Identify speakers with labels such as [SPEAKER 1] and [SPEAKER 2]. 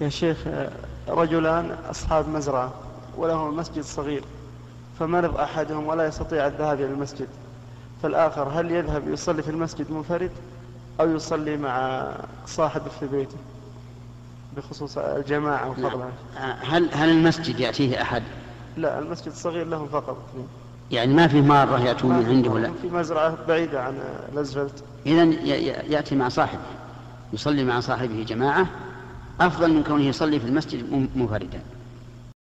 [SPEAKER 1] يا شيخ رجلان أصحاب مزرعة ولهما مسجد صغير فمرض أحدهم ولا يستطيع الذهاب إلى المسجد فالآخر هل يذهب يصلي في المسجد منفرد أو يصلي مع صاحبه في بيته بخصوص الجماعة وفضلها
[SPEAKER 2] هل هل المسجد يأتيه أحد؟
[SPEAKER 1] لا المسجد صغير لهم فقط
[SPEAKER 2] يعني ما في مارة يأتون من عنده ولا
[SPEAKER 1] في مزرعة بعيدة عن الأسفلت
[SPEAKER 2] إذا يأتي مع صاحبه يصلي مع صاحبه جماعة أفضل من كونه يصلي في المسجد منفردا